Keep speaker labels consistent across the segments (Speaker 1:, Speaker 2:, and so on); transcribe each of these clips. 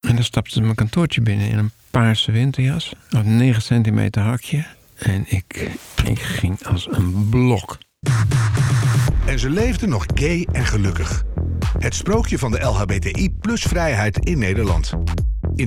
Speaker 1: En dan stapte ze mijn kantoortje binnen in een paarse winterjas. Een 9 centimeter hakje. En ik, ik ging als een blok.
Speaker 2: En ze leefden nog gay en gelukkig. Het sprookje van de LHBTI plus vrijheid in Nederland. In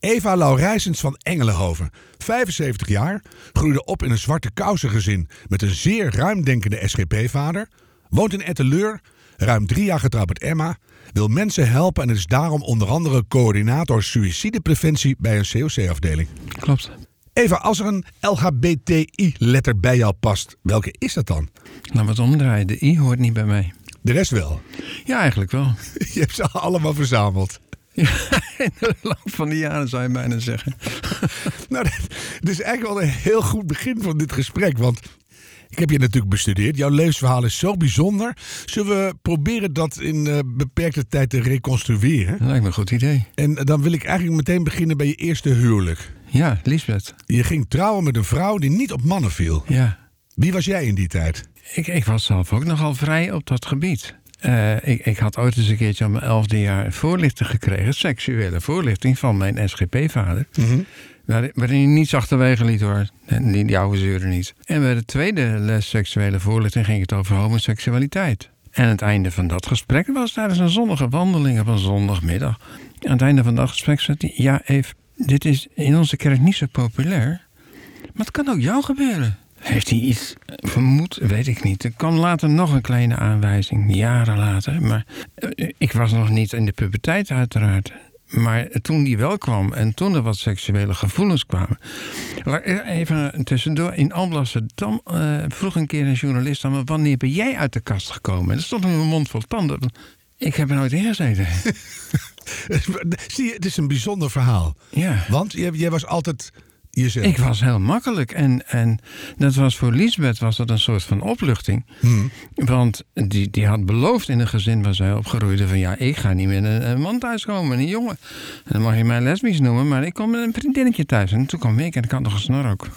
Speaker 2: Eva Laurijsens van Engelenhoven, 75 jaar, groeide op in een zwarte kousengezin met een zeer ruimdenkende SGP-vader, woont in Etteleur, ruim drie jaar getrouwd met Emma, wil mensen helpen en is daarom onder andere coördinator suïcidepreventie bij een COC-afdeling.
Speaker 1: Klopt.
Speaker 2: Eva, als er een LHBTI-letter bij jou past, welke is dat dan?
Speaker 1: Laten we het omdraaien. De I hoort niet bij mij.
Speaker 2: De rest wel.
Speaker 1: Ja, eigenlijk wel.
Speaker 2: Je hebt ze allemaal verzameld.
Speaker 1: Ja, in de loop van de jaren zou je bijna zeggen.
Speaker 2: Nou, dat, dat is eigenlijk wel een heel goed begin van dit gesprek. Want ik heb je natuurlijk bestudeerd. Jouw levensverhaal is zo bijzonder. Zullen we proberen dat in eh, beperkte tijd te reconstrueren?
Speaker 1: Dat lijkt me een goed idee.
Speaker 2: En dan wil ik eigenlijk meteen beginnen bij je eerste huwelijk.
Speaker 1: Ja, Lisbeth.
Speaker 2: Je ging trouwen met een vrouw die niet op mannen viel.
Speaker 1: Ja.
Speaker 2: Wie was jij in die tijd?
Speaker 1: Ik, ik was zelf ook nogal vrij op dat gebied. Eh, ik, ik had ooit eens een keertje aan mijn elfde jaar voorlichting gekregen, seksuele voorlichting van mijn SGP-vader. Waar- Waarin hij niets achterwege liet hoor. En die, die oude zeuren niet. En bij de tweede les seksuele voorlichting ging het over homoseksualiteit. En aan het einde van dat gesprek was tijdens een zonnige wandeling op een zondagmiddag. Aan het einde van dat gesprek zei hij: Ja, Eve, dit is in onze kerk niet zo populair. Maar het kan ook jou gebeuren. Heeft hij iets vermoed? Weet ik niet. Er kwam later nog een kleine aanwijzing, jaren later. Maar eh, ik was nog niet in de puberteit, uiteraard. Maar toen die wel kwam en toen er wat seksuele gevoelens kwamen. La- Even tussendoor, in Amsterdam eh, vroeg een keer een journalist aan me: Wanneer ben jij uit de kast gekomen? En er stond in mijn mond vol tanden. Ik heb er nooit in gezeten.
Speaker 2: Zie je, het is een bijzonder verhaal.
Speaker 1: ja.
Speaker 2: Want jij, jij was altijd jezelf.
Speaker 1: Ik was heel makkelijk. En, en dat was voor Lisbeth was dat een soort van opluchting. Want die, die had beloofd in een gezin waar zij opgroeide... van ja, ik ga niet meer een, een man thuiskomen, een jongen. En dan mag je mij lesbisch noemen, maar ik kom met een vriendinnetje thuis. En toen kwam ik en ik had nog een snor ook.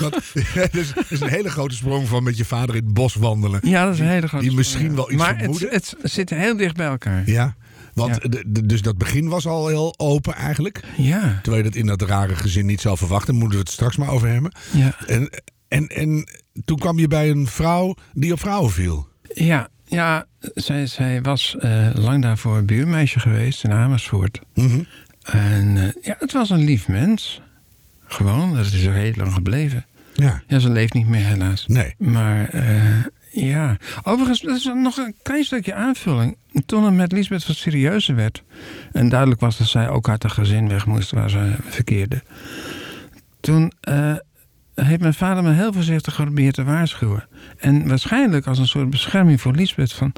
Speaker 2: Want, dat, is, dat is een hele grote sprong van met je vader in het bos wandelen.
Speaker 1: Ja, dat is een hele grote...
Speaker 2: die misschien
Speaker 1: ja.
Speaker 2: wel iets
Speaker 1: Maar het,
Speaker 2: vermoedde.
Speaker 1: het zit heel dicht bij elkaar.
Speaker 2: Ja, want
Speaker 1: Ja.
Speaker 2: de- de- dus dat begin was al heel open eigenlijk.
Speaker 1: Ja.
Speaker 2: Terwijl je dat in dat rare gezin niet zou verwachten, moeten we het straks maar over hebben.
Speaker 1: Ja.
Speaker 2: En, en, en toen kwam je bij een vrouw die op vrouwen viel.
Speaker 1: Ja, ja zij, zij was eh, lang daarvoor buurmeisje geweest in Amersfoort.
Speaker 2: Mhm.
Speaker 1: En eh, ja, het was een lief mens. Gewoon, dat is er heel lang gebleven.
Speaker 2: Ja.
Speaker 1: Ja, ze leeft niet meer helaas.
Speaker 2: Nee.
Speaker 1: Maar eh, ja, overigens, dat is nog een klein stukje aanvulling. Toen het met Lisbeth wat serieuzer werd... en duidelijk was dat zij ook uit haar gezin weg moest waar ze verkeerde... toen eh, heeft mijn vader me heel voorzichtig geprobeerd te waarschuwen. En waarschijnlijk als een soort bescherming voor Lisbeth van...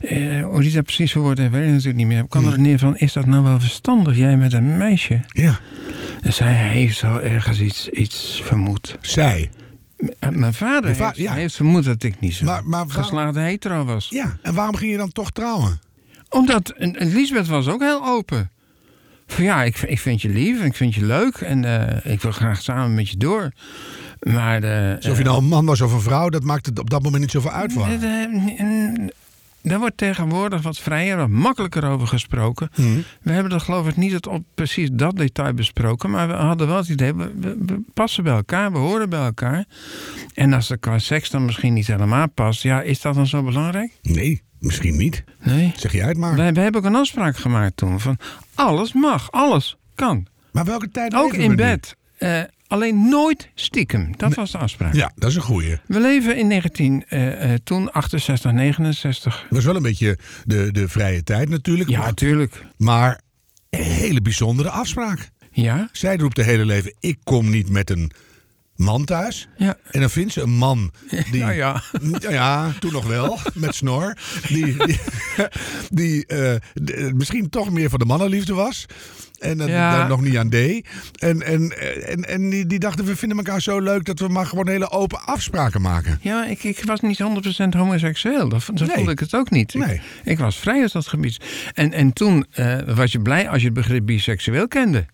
Speaker 1: eh, hoe die dat precies verwoord heeft, weet ik natuurlijk niet meer. Ik
Speaker 2: Hmm.
Speaker 1: kwam er neer van, is dat nou wel verstandig, jij met een meisje?
Speaker 2: Ja.
Speaker 1: En zij heeft wel ergens iets, iets vermoed.
Speaker 2: Zij.
Speaker 1: Eh, Mijn vader
Speaker 2: Je va-
Speaker 1: heeft,
Speaker 2: ja.
Speaker 1: heeft vermoed dat ik niet zo
Speaker 2: Maar- maar waarom-
Speaker 1: geslaagde hetero was.
Speaker 2: Ja. En waarom ging je dan toch trouwen?
Speaker 1: Omdat en- en Lisbeth was ook heel open. Van ja, ik, ik vind je lief en ik vind je leuk en eh, ik wil graag samen met je door. Maar eh, de,
Speaker 2: Alsof je nou een man was of een vrouw, dat maakt het op dat moment niet zoveel uit
Speaker 1: eh,
Speaker 2: voor haar.
Speaker 1: daar wordt tegenwoordig wat vrijer, wat makkelijker over gesproken.
Speaker 2: Hmm.
Speaker 1: We hebben er geloof ik niet het op precies dat detail besproken. Maar we hadden wel het idee, we, we- we passen bij elkaar, we horen bij elkaar. En als er qua seks dan misschien niet helemaal past, ja, is dat dan zo belangrijk?
Speaker 2: Nee, misschien niet.
Speaker 1: Nee.
Speaker 2: Zeg jij het maar.
Speaker 1: We, we hebben ook een afspraak gemaakt toen van alles mag, alles kan.
Speaker 2: Maar welke tijd
Speaker 1: Ook
Speaker 2: leven we
Speaker 1: in
Speaker 2: nu?
Speaker 1: bed. Eh, Alleen nooit stiekem. Dat was de afspraak.
Speaker 2: Ja, dat is een goeie.
Speaker 1: We leven in 19, eh, eh, toen 68, 69.
Speaker 2: Dat was wel een beetje de, de vrije tijd natuurlijk.
Speaker 1: Ja,
Speaker 2: maar,
Speaker 1: natuurlijk.
Speaker 2: maar een hele bijzondere afspraak.
Speaker 1: Ja,
Speaker 2: Zij roept de hele leven, ik kom niet met een man thuis.
Speaker 1: ja.
Speaker 2: En dan vindt ze een man die...
Speaker 1: Nou ja.
Speaker 2: Nou ja, toen nog wel, met snor. Die, die, die, eh, d- misschien toch meer van de mannenliefde was. En dat
Speaker 1: Ja.
Speaker 2: daar nog niet aan deed. En, en, en, en die, die dachten, we vinden elkaar zo leuk dat we maar gewoon hele open afspraken maken.
Speaker 1: Ja, ik, ik was niet 100% homoseksueel. Dat, dat
Speaker 2: Nee.
Speaker 1: voelde ik het ook niet. Ik-
Speaker 2: Nee.
Speaker 1: Ik, was vrij uit dat gebied. En, en toen eh, was je blij als je het begrip biseksueel kende.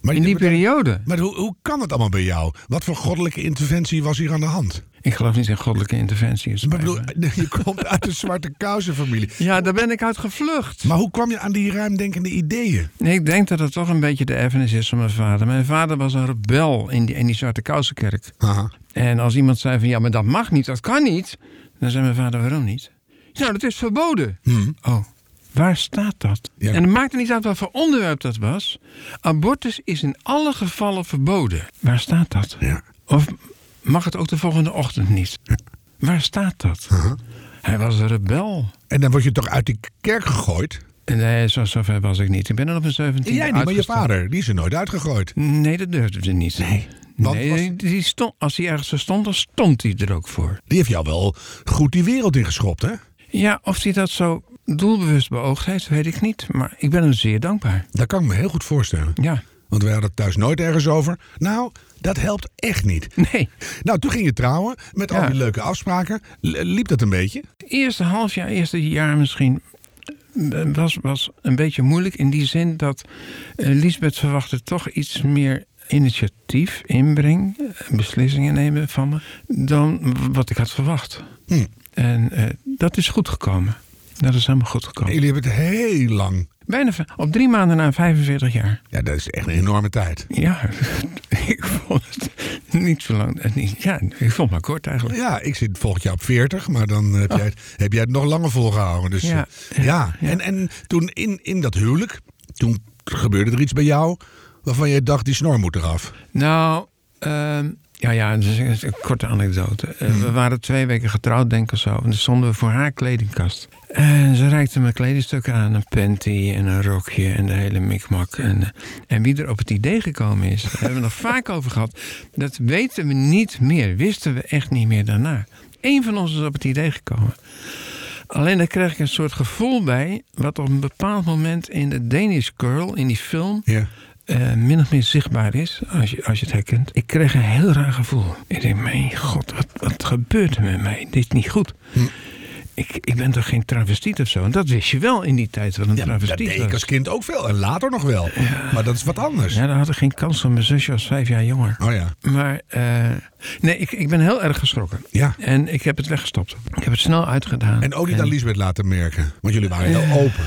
Speaker 2: Maar,
Speaker 1: In die periode.
Speaker 2: maar hoe, hoe kan het allemaal bij jou? Wat voor goddelijke interventie was hier aan de hand?
Speaker 1: Ik geloof niet in goddelijke interventie. het
Speaker 2: Maar
Speaker 1: spijt
Speaker 2: ik bedoel,
Speaker 1: me.
Speaker 2: je komt uit de zwarte kousenfamilie.
Speaker 1: Ja, daar ben ik uit gevlucht.
Speaker 2: Maar hoe kwam je aan die ruimdenkende ideeën?
Speaker 1: Nee, ik denk dat dat toch een beetje de erfenis is van mijn vader. Mijn vader was een rebel in die, in die Zwarte Kousenkerk.
Speaker 2: Aha.
Speaker 1: En als iemand zei van ja, maar dat mag niet, dat kan niet. Dan zei mijn vader, waarom niet? Nou, dat is verboden. Oh, waar staat dat?
Speaker 2: Hmm. Ja.
Speaker 1: En het maakte niet uit wat voor onderwerp dat was. Abortus is in alle gevallen verboden. Waar staat dat?
Speaker 2: Ja.
Speaker 1: Of mag het ook de volgende ochtend niet? Waar staat dat?
Speaker 2: Uh-huh.
Speaker 1: Hij was een rebel.
Speaker 2: En dan word je toch uit die kerk gegooid?
Speaker 1: En nee, zo, zo ver was ik niet. Ik ben er op mijn 17
Speaker 2: Jij niet, maar je vader, die is er nooit uitgegooid.
Speaker 1: Nee, dat durfde hij niet. Nee.
Speaker 2: want
Speaker 1: nee, die stond, als hij ergens voor stond, dan stond hij er ook voor.
Speaker 2: Die heeft jou wel goed die wereld ingeschopt, hè?
Speaker 1: Ja, of hij dat zo doelbewust beoogd heeft, weet ik niet. Maar ik ben hem zeer dankbaar.
Speaker 2: Dat kan ik me heel goed voorstellen.
Speaker 1: Ja.
Speaker 2: Want wij hadden het thuis nooit ergens over. Nou, dat helpt echt niet.
Speaker 1: Nee,
Speaker 2: Nou, toen ging je trouwen met al
Speaker 1: Ja.
Speaker 2: die leuke afspraken. L- liep dat een beetje?
Speaker 1: het eerste half jaar, eerste jaar misschien... eh, was, was een beetje moeilijk in die zin dat eh, Lisbeth verwachtte toch iets meer initiatief, inbreng, eh, beslissingen nemen van me, dan wat ik had verwacht.
Speaker 2: Hm.
Speaker 1: En eh, dat is goed gekomen. Dat is helemaal goed gekomen.
Speaker 2: Jullie hebben het heel lang.
Speaker 1: Bijna v- op drie maanden na 45 jaar.
Speaker 2: Ja, dat is echt een enorme tijd.
Speaker 1: Ja, ik vond het niet zo lang. eh, niet- Ja, ik vond het maar kort eigenlijk.
Speaker 2: Ja, ik zit volgend jaar op 40, maar dan heb, jij, het, heb jij het nog langer volgehouden. Dus
Speaker 1: Oh. Ja.
Speaker 2: eh, ja. En, en toen in, in dat huwelijk, toen gebeurde er iets bij jou waarvan je dacht, die snor moet eraf.
Speaker 1: Nou, ehm, ja, ja, het is een- het is een korte anekdote. Eh, We waren twee weken getrouwd, denk ik of zo. En toen stonden we voor haar kledingkast. En ze reikte me kledingstukken aan. Een panty en een rokje en de hele mikmak. En, eh, en wie er op het idee gekomen is, daar hebben we nog vaak over gehad. Dat weten we niet meer. Wisten we echt niet meer daarna. Eén van ons is op het idee gekomen. Alleen daar kreeg ik een soort gevoel bij... wat op een bepaald moment in de Danish Girl, in die film...
Speaker 2: Ja.
Speaker 1: eh, min of meer zichtbaar is, als je, als je het herkent. Ik kreeg een heel raar gevoel. Ik denk, mijn god, wat, wat gebeurt er met mij? Dit is niet goed.
Speaker 2: Hm.
Speaker 1: Ik, ik ben toch geen travestiet of zo? En dat wist je wel in die tijd wat een
Speaker 2: Ja, dat
Speaker 1: travestiet
Speaker 2: deed ik
Speaker 1: was.
Speaker 2: als kind ook veel. En later nog wel. Maar dat is wat anders.
Speaker 1: Ja, daar had ik geen kans van. Mijn zusje was vijf jaar jonger.
Speaker 2: Oh ja.
Speaker 1: Maar eh, nee, ik, ik ben heel erg geschrokken.
Speaker 2: Ja.
Speaker 1: En ik heb het weggestopt. Ik heb het snel uitgedaan.
Speaker 2: En ook niet aan Lisbeth laten merken. Want jullie waren heel open.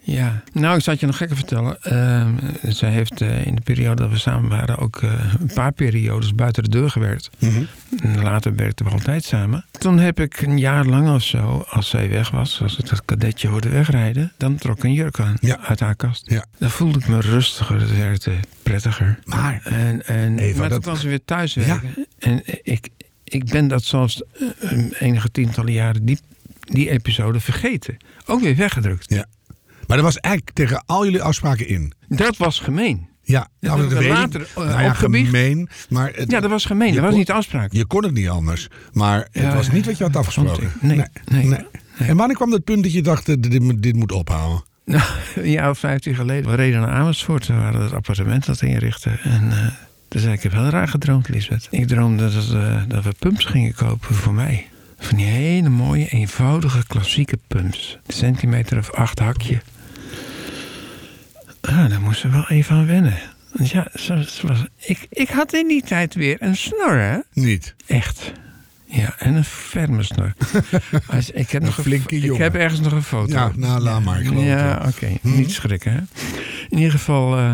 Speaker 1: Ja, nou, ik zal het je nog gekker vertellen. Ehm, zij heeft eh, in de periode dat we samen waren ook eh, een paar periodes buiten de deur gewerkt.
Speaker 2: Mhm.
Speaker 1: En Later werkten we altijd samen. Toen heb ik een jaar lang of zo, als zij weg was, als ik dat kadetje hoorde wegrijden, dan trok ik een jurk aan
Speaker 2: Ja.
Speaker 1: uit haar kast.
Speaker 2: Ja.
Speaker 1: Dan voelde ik me rustiger, het werd eh, prettiger.
Speaker 2: Maar
Speaker 1: En, en,
Speaker 2: Eva,
Speaker 1: maar
Speaker 2: dat-
Speaker 1: toen kwam ze weer thuis werken. En ik, ik ben dat zelfs eh, enige tientallen jaren die, die episode vergeten. Ook weer weggedrukt.
Speaker 2: ja. Maar dat was eigenlijk tegen al jullie afspraken in.
Speaker 1: Dat was gemeen.
Speaker 2: Ja,
Speaker 1: Ja, dat hebben we later, eh,
Speaker 2: nou ja,
Speaker 1: opgebiecht.
Speaker 2: gemeen. Maar het-
Speaker 1: Ja, dat was gemeen.
Speaker 2: je
Speaker 1: Dat was
Speaker 2: kon-
Speaker 1: niet de afspraak.
Speaker 2: Je kon het niet anders. Maar het
Speaker 1: Ja,
Speaker 2: was niet wat je had afgesproken.
Speaker 1: vond ik. Nee, nee,
Speaker 2: En wanneer kwam het punt dat je dacht, eh, dit, dit moet ophouden?
Speaker 1: Nou, een jaar of vijftien geleden. We reden naar Amersfoort. We waren het appartement dat inrichten. En eh toen zei ik, ik heb heel raar gedroomd, Lisbeth. Ik droomde dat, eh, dat we pumps gingen kopen voor mij. Van die hele mooie, eenvoudige, klassieke pumps. Een centimeter of acht hakje. Ah, daar moesten we wel even aan wennen. Want ja, ze- ze was, ik, ik had in die tijd weer een snor, hè?
Speaker 2: Niet.
Speaker 1: Echt. Ja, en een ferme snor. Als, ik, heb nog een
Speaker 2: flinke
Speaker 1: fo- ik
Speaker 2: jongen.
Speaker 1: heb ergens nog een foto.
Speaker 2: Ja, nou, laat maar. Ik geloof het
Speaker 1: ja,
Speaker 2: wel.
Speaker 1: oké. Niet schrikken, hè? In ieder geval, eh,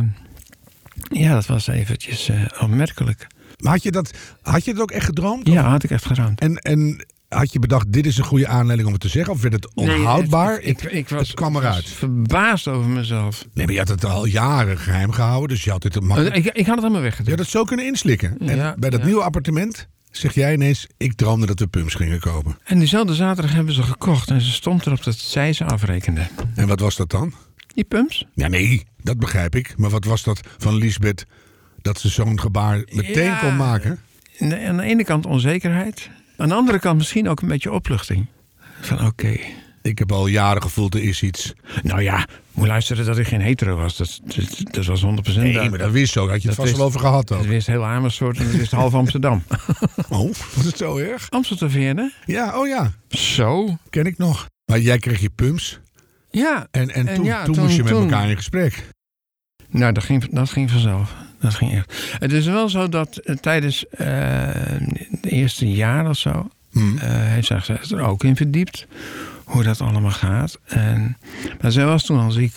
Speaker 1: ja, dat was eventjes eh, opmerkelijk.
Speaker 2: Maar had je, dat, had je het ook echt gedroomd?
Speaker 1: Ja, had ik echt geruimd.
Speaker 2: En, en had je bedacht, dit is een goede aanleiding om het te zeggen? Of werd het onhoudbaar?
Speaker 1: Nee, het- ik, ik was
Speaker 2: het kwam eruit.
Speaker 1: was verbaasd over mezelf. Eh,
Speaker 2: Nee, maar je had het al jaren geheim gehouden, dus je had het makkelijk.
Speaker 1: Oh, Ik, ik had het allemaal
Speaker 2: Je
Speaker 1: weggedaan.
Speaker 2: had het zo kunnen inslikken. En
Speaker 1: Ja,
Speaker 2: bij dat
Speaker 1: ja.
Speaker 2: nieuwe appartement zeg jij ineens, ik droomde dat we pumps gingen kopen.
Speaker 1: En diezelfde zaterdag hebben ze gekocht en ze stond erop dat zij ze afrekende.
Speaker 2: En wat was dat dan?
Speaker 1: Die pumps?
Speaker 2: Ja, nee, dat begrijp ik. Maar wat was dat van Lisbeth dat ze zo'n gebaar meteen
Speaker 1: Ja.
Speaker 2: kon maken?
Speaker 1: Aan de- aan de ene kant onzekerheid, aan de andere kant misschien ook een beetje opluchting. Van oké.
Speaker 2: Ik heb al jaren gevoeld, er is iets.
Speaker 1: Nou ja, moet luisteren dat ik geen hetero was. Dat, dat, dat was 100%
Speaker 2: Nee, maar dat wist ze ook. Had je het
Speaker 1: dat
Speaker 2: vast
Speaker 1: is-
Speaker 2: wel over gehad ook.
Speaker 1: Het wist heel Amersfoort en het wist half Amsterdam.
Speaker 2: Oh, was het zo erg?
Speaker 1: Amsterdam
Speaker 2: Ja, oh ja,
Speaker 1: Zo?
Speaker 2: ken ik nog. Maar jij kreeg je pumps
Speaker 1: Ja.
Speaker 2: en, en,
Speaker 1: En
Speaker 2: toen,
Speaker 1: ja,
Speaker 2: toen,
Speaker 1: toen-
Speaker 2: moest je met
Speaker 1: toen-
Speaker 2: elkaar in gesprek.
Speaker 1: Nou, dat ging, dat ging vanzelf. Dat ging echt. Het is wel zo dat eh, tijdens eh, het eerste jaar of zo...
Speaker 2: Hm.
Speaker 1: eh, heeft zij zich er ook in verdiept. Hoe dat allemaal gaat. En, maar zij was toen al ziek.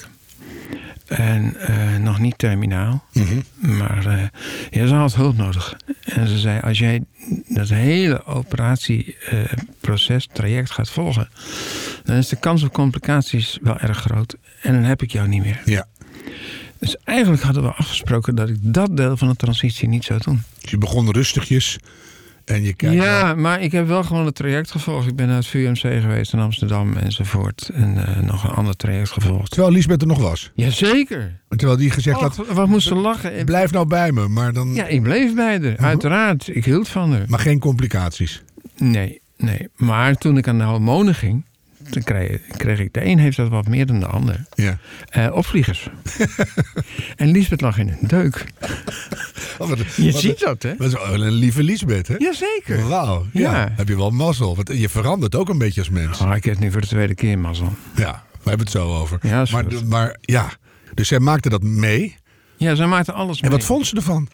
Speaker 1: En eh, nog niet terminaal.
Speaker 2: Mhm.
Speaker 1: Maar eh, ja, ze had hulp nodig. En ze zei, als jij dat hele operatieproces, traject gaat volgen... dan is de kans op complicaties wel erg groot. En dan heb ik jou niet meer.
Speaker 2: Ja,
Speaker 1: Dus eigenlijk hadden we afgesproken dat ik dat deel van de transitie niet zou doen.
Speaker 2: Dus je begon rustigjes en je kijkt...
Speaker 1: ja, maar ik heb wel gewoon het traject gevolgd. Ik ben naar het VUMC geweest in Amsterdam enzovoort. En eh, nog een ander traject gevolgd.
Speaker 2: Terwijl Lisbeth er nog was.
Speaker 1: Jazeker.
Speaker 2: En Terwijl die gezegd
Speaker 1: Och,
Speaker 2: had,
Speaker 1: wat moest ze lachen?
Speaker 2: blijf nou bij me, maar, dan,
Speaker 1: Ja, ik bleef bij haar. Uiteraard, ik hield van haar.
Speaker 2: maar geen complicaties.
Speaker 1: Nee, nee. Maar toen ik aan de hormonen ging, toen kreeg, kreeg ik de een heeft dat wat meer dan de ander.
Speaker 2: Ja.
Speaker 1: Eh opvliegers. en Lisbeth lag in een deuk.
Speaker 2: Oh, wat-
Speaker 1: Je
Speaker 2: wat-
Speaker 1: ziet dat, hè?
Speaker 2: Wat wel een lieve Lisbeth, hè?
Speaker 1: Jazeker.
Speaker 2: Wauw, ja.
Speaker 1: Ja.
Speaker 2: Heb je wel mazzel. Want je verandert ook een beetje als mens.
Speaker 1: Ah, ik heb het nu voor de tweede keer mazzel.
Speaker 2: Ja, we hebben het zo over.
Speaker 1: Ja, is
Speaker 2: maar,
Speaker 1: goed.
Speaker 2: maar ja, dus zij maakte dat mee.
Speaker 1: Ja, ze maakte alles
Speaker 2: En
Speaker 1: mee.
Speaker 2: wat vond ze ervan?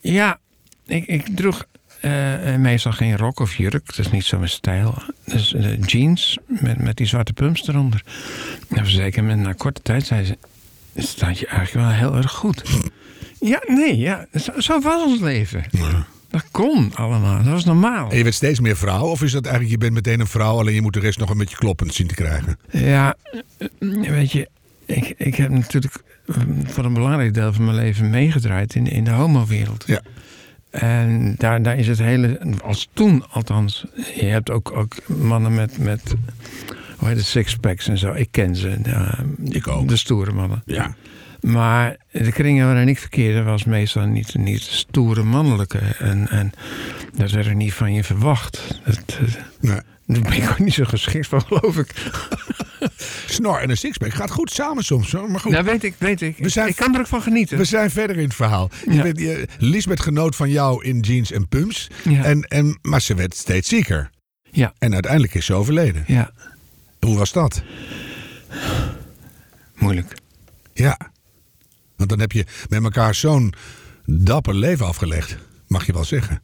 Speaker 1: Ja, ik, ik droeg eh, eh, meestal geen rok of jurk. Dat is niet zo mijn stijl. Dus eh, jeans met, met die zwarte pumps eronder. Nou, zeker met na korte tijd zei ze... staat je eigenlijk wel heel erg goed. Ja, nee, ja. Zo, zo was ons leven. Dat kon allemaal. Dat was normaal.
Speaker 2: En je werd steeds meer vrouw? Of is dat eigenlijk, je bent meteen een vrouw... alleen je moet de rest nog een beetje kloppend zien te krijgen?
Speaker 1: Ja, eh, weet je... Ik, ik heb natuurlijk eh, voor een belangrijk deel van mijn leven meegedraaid in, in de homo-wereld.
Speaker 2: Ja.
Speaker 1: En daar, daar is het hele, als toen althans, je hebt ook, ook mannen met, met hoe heet het, sixpacks en zo. Ik ken ze. ja,
Speaker 2: Ik ook.
Speaker 1: De stoere mannen.
Speaker 2: Ja.
Speaker 1: Maar de kringen waarin ik verkeerde was meestal niet, niet stoere mannelijke. En, en dat werd er niet van je verwacht. Dat, eh,
Speaker 2: Nee.
Speaker 1: daar ben ik ook niet zo geschikt voor, geloof ik.
Speaker 2: Snor en een sixpack gaat goed samen soms. hoor. Maar goed,
Speaker 1: Nou, weet ik, weet ik.
Speaker 2: We zijn-
Speaker 1: Ik kan er ook van genieten.
Speaker 2: we zijn verder in het verhaal. Je
Speaker 1: Ja.
Speaker 2: bent, je, Lisbeth genoot van jou in jeans en pumps.
Speaker 1: Ja.
Speaker 2: En, en, maar ze werd steeds zieker.
Speaker 1: Ja.
Speaker 2: En uiteindelijk is ze overleden.
Speaker 1: Ja,
Speaker 2: Hoe was dat?
Speaker 1: moeilijk.
Speaker 2: Ja. Want dan heb je met elkaar zo'n dapper leven afgelegd. Mag je wel zeggen.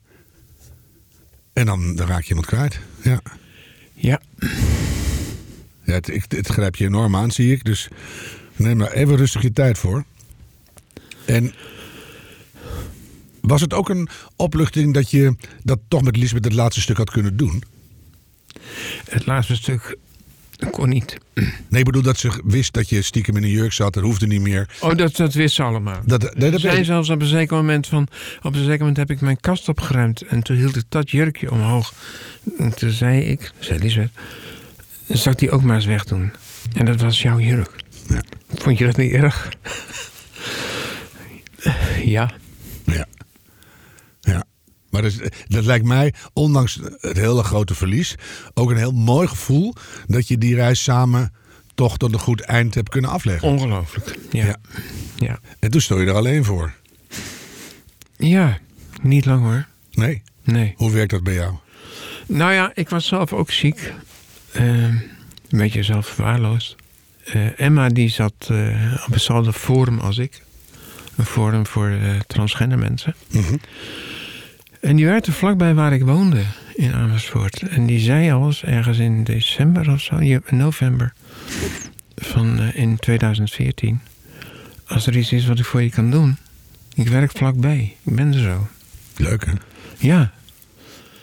Speaker 2: En dan, dan raak je iemand kwijt. Ja.
Speaker 1: Ja.
Speaker 2: ja het, ik, het grijpt je enorm aan, zie ik. Dus neem daar even rustig je tijd voor. En was het ook een opluchting dat je dat toch met Lisbeth het laatste stuk had kunnen doen?
Speaker 1: Het laatste stuk kon niet.
Speaker 2: Nee, ik bedoel dat ze wist dat je stiekem in een jurk zat. Dat hoefde niet meer.
Speaker 1: Oh, dat, dat wist ze allemaal.
Speaker 2: Dat, nee, dat weet
Speaker 1: zei
Speaker 2: ik.
Speaker 1: zelfs op een zeker moment van... op een zeker moment heb ik mijn kast opgeruimd... en toen hield ik dat jurkje omhoog. En toen zei ik, zei Lisbeth... zal ik die ook maar eens wegdoen? En dat was jouw jurk.
Speaker 2: Ja.
Speaker 1: Vond je dat niet erg? ja.
Speaker 2: Ja. Ja. Maar dat, is- dat lijkt mij, ondanks het hele grote verlies, ook een heel mooi gevoel dat je die reis samen toch tot een goed eind hebt kunnen afleggen.
Speaker 1: Ongelooflijk. Ja.
Speaker 2: Ja.
Speaker 1: Ja. ja.
Speaker 2: En toen stond je er alleen voor.
Speaker 1: niet lang hoor.
Speaker 2: Nee.
Speaker 1: Nee.
Speaker 2: Hoe werkt dat bij jou?
Speaker 1: Nou ja, ik was zelf ook ziek. Eh, een beetje zelf verwaarloosd. Eh, Emma die zat eh, op hetzelfde forum als ik. Een forum voor eh, transgender mensen.
Speaker 2: Mhm.
Speaker 1: En die werd er vlakbij waar ik woonde in Amersfoort. En die zei al eens ergens in december of zo, ja, in november van eh, in 2014. Als er iets is wat ik voor je kan doen, ik werk vlakbij. Ik ben er zo.
Speaker 2: Leuk hè?
Speaker 1: Ja.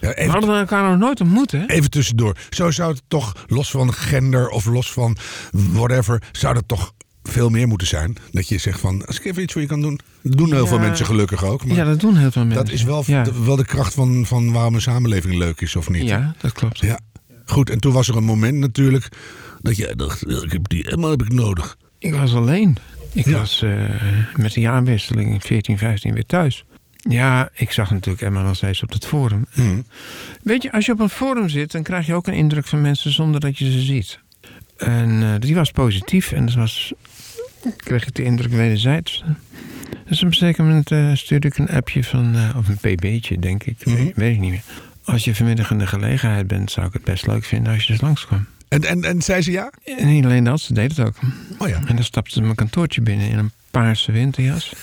Speaker 2: Ja,
Speaker 1: We
Speaker 2: even,
Speaker 1: hadden elkaar nog nooit ontmoet, hè?
Speaker 2: even tussendoor. Zo zou het toch, los van gender of los van whatever, zou dat toch veel meer moeten zijn. Dat je zegt van, als ik even iets voor je kan doen. Dat doen heel
Speaker 1: Ja.
Speaker 2: veel mensen gelukkig ook. Maar
Speaker 1: Ja, dat doen heel veel mensen.
Speaker 2: dat is wel,
Speaker 1: Ja,
Speaker 2: de, wel de kracht van, van waarom een samenleving leuk is of niet.
Speaker 1: ja dat klopt.
Speaker 2: Ja. Goed, en toen was er een moment natuurlijk dat jij dacht, ik heb die Emma heb ik nodig.
Speaker 1: Ik was alleen. Ik
Speaker 2: Ja.
Speaker 1: was eh, met de jaarwisseling in 14, 15 weer thuis. Ja, ik zag natuurlijk Emma nog steeds op het forum.
Speaker 2: Hmm.
Speaker 1: Weet je, als je op een forum zit, dan krijg je ook een indruk van mensen zonder dat je ze ziet. En eh, die was positief en dat was, kreeg ik de indruk wederzijds. Dus op een zeker moment eh, stuurde ik een appje van, eh, of een pb'tje denk ik,
Speaker 2: Mhm.
Speaker 1: weet, weet ik niet meer. Als je vanmiddag in de gelegenheid bent, zou ik het best leuk vinden als je eens langskwam.
Speaker 2: En, en, en zei ze ja?
Speaker 1: En niet alleen dat, ze deed het ook.
Speaker 2: Oh ja.
Speaker 1: En dan stapte ze mijn kantoortje binnen in een paarse winterjas.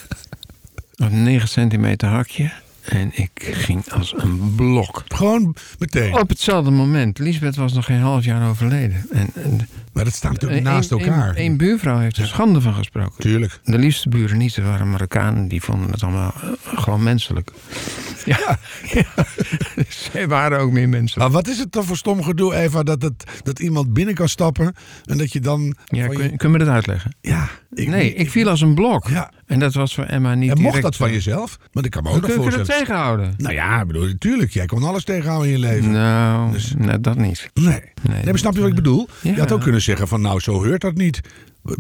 Speaker 1: Een 9 centimeter hakje. En ik ging als een blok. Oh.
Speaker 2: Gewoon meteen.
Speaker 1: Op hetzelfde moment. Lisbeth was nog geen half jaar overleden. En, en,
Speaker 2: Maar dat staat natuurlijk
Speaker 1: een-
Speaker 2: naast
Speaker 1: een-
Speaker 2: elkaar.
Speaker 1: Een, buurvrouw heeft er schande van gesproken.
Speaker 2: Tuurlijk.
Speaker 1: De liefste buren niet, dat waren Marokkanen. Die vonden het allemaal eh, gewoon menselijk. Ja, ja. zij waren ook meer menselijk.
Speaker 2: Maar wat is het dan voor stom gedoe, Eva, dat, het, dat iemand binnen kan stappen en dat je dan...
Speaker 1: Ja,
Speaker 2: Oh. van je-
Speaker 1: kun, kun je me dat uitleggen?
Speaker 2: ja ik,
Speaker 1: nee, ik viel als een blok.
Speaker 2: Ja.
Speaker 1: En dat was voor Emma niet
Speaker 2: en
Speaker 1: direct... eh.
Speaker 2: mocht dat van jezelf? Want ik kan me ook
Speaker 1: Hoe
Speaker 2: nog
Speaker 1: kun je dat
Speaker 2: voorstellen.
Speaker 1: tegenhouden?
Speaker 2: Nou ja, ik bedoel, tuurlijk, jij kon alles tegenhouden in je leven.
Speaker 1: Nou, nou, dat niet.
Speaker 2: Nee.
Speaker 1: Nee,
Speaker 2: Dus- Nee, maar snap je wat ik bedoel?
Speaker 1: Ja.
Speaker 2: Je had ook kunnen zeggen van, nou, zo heurt dat niet.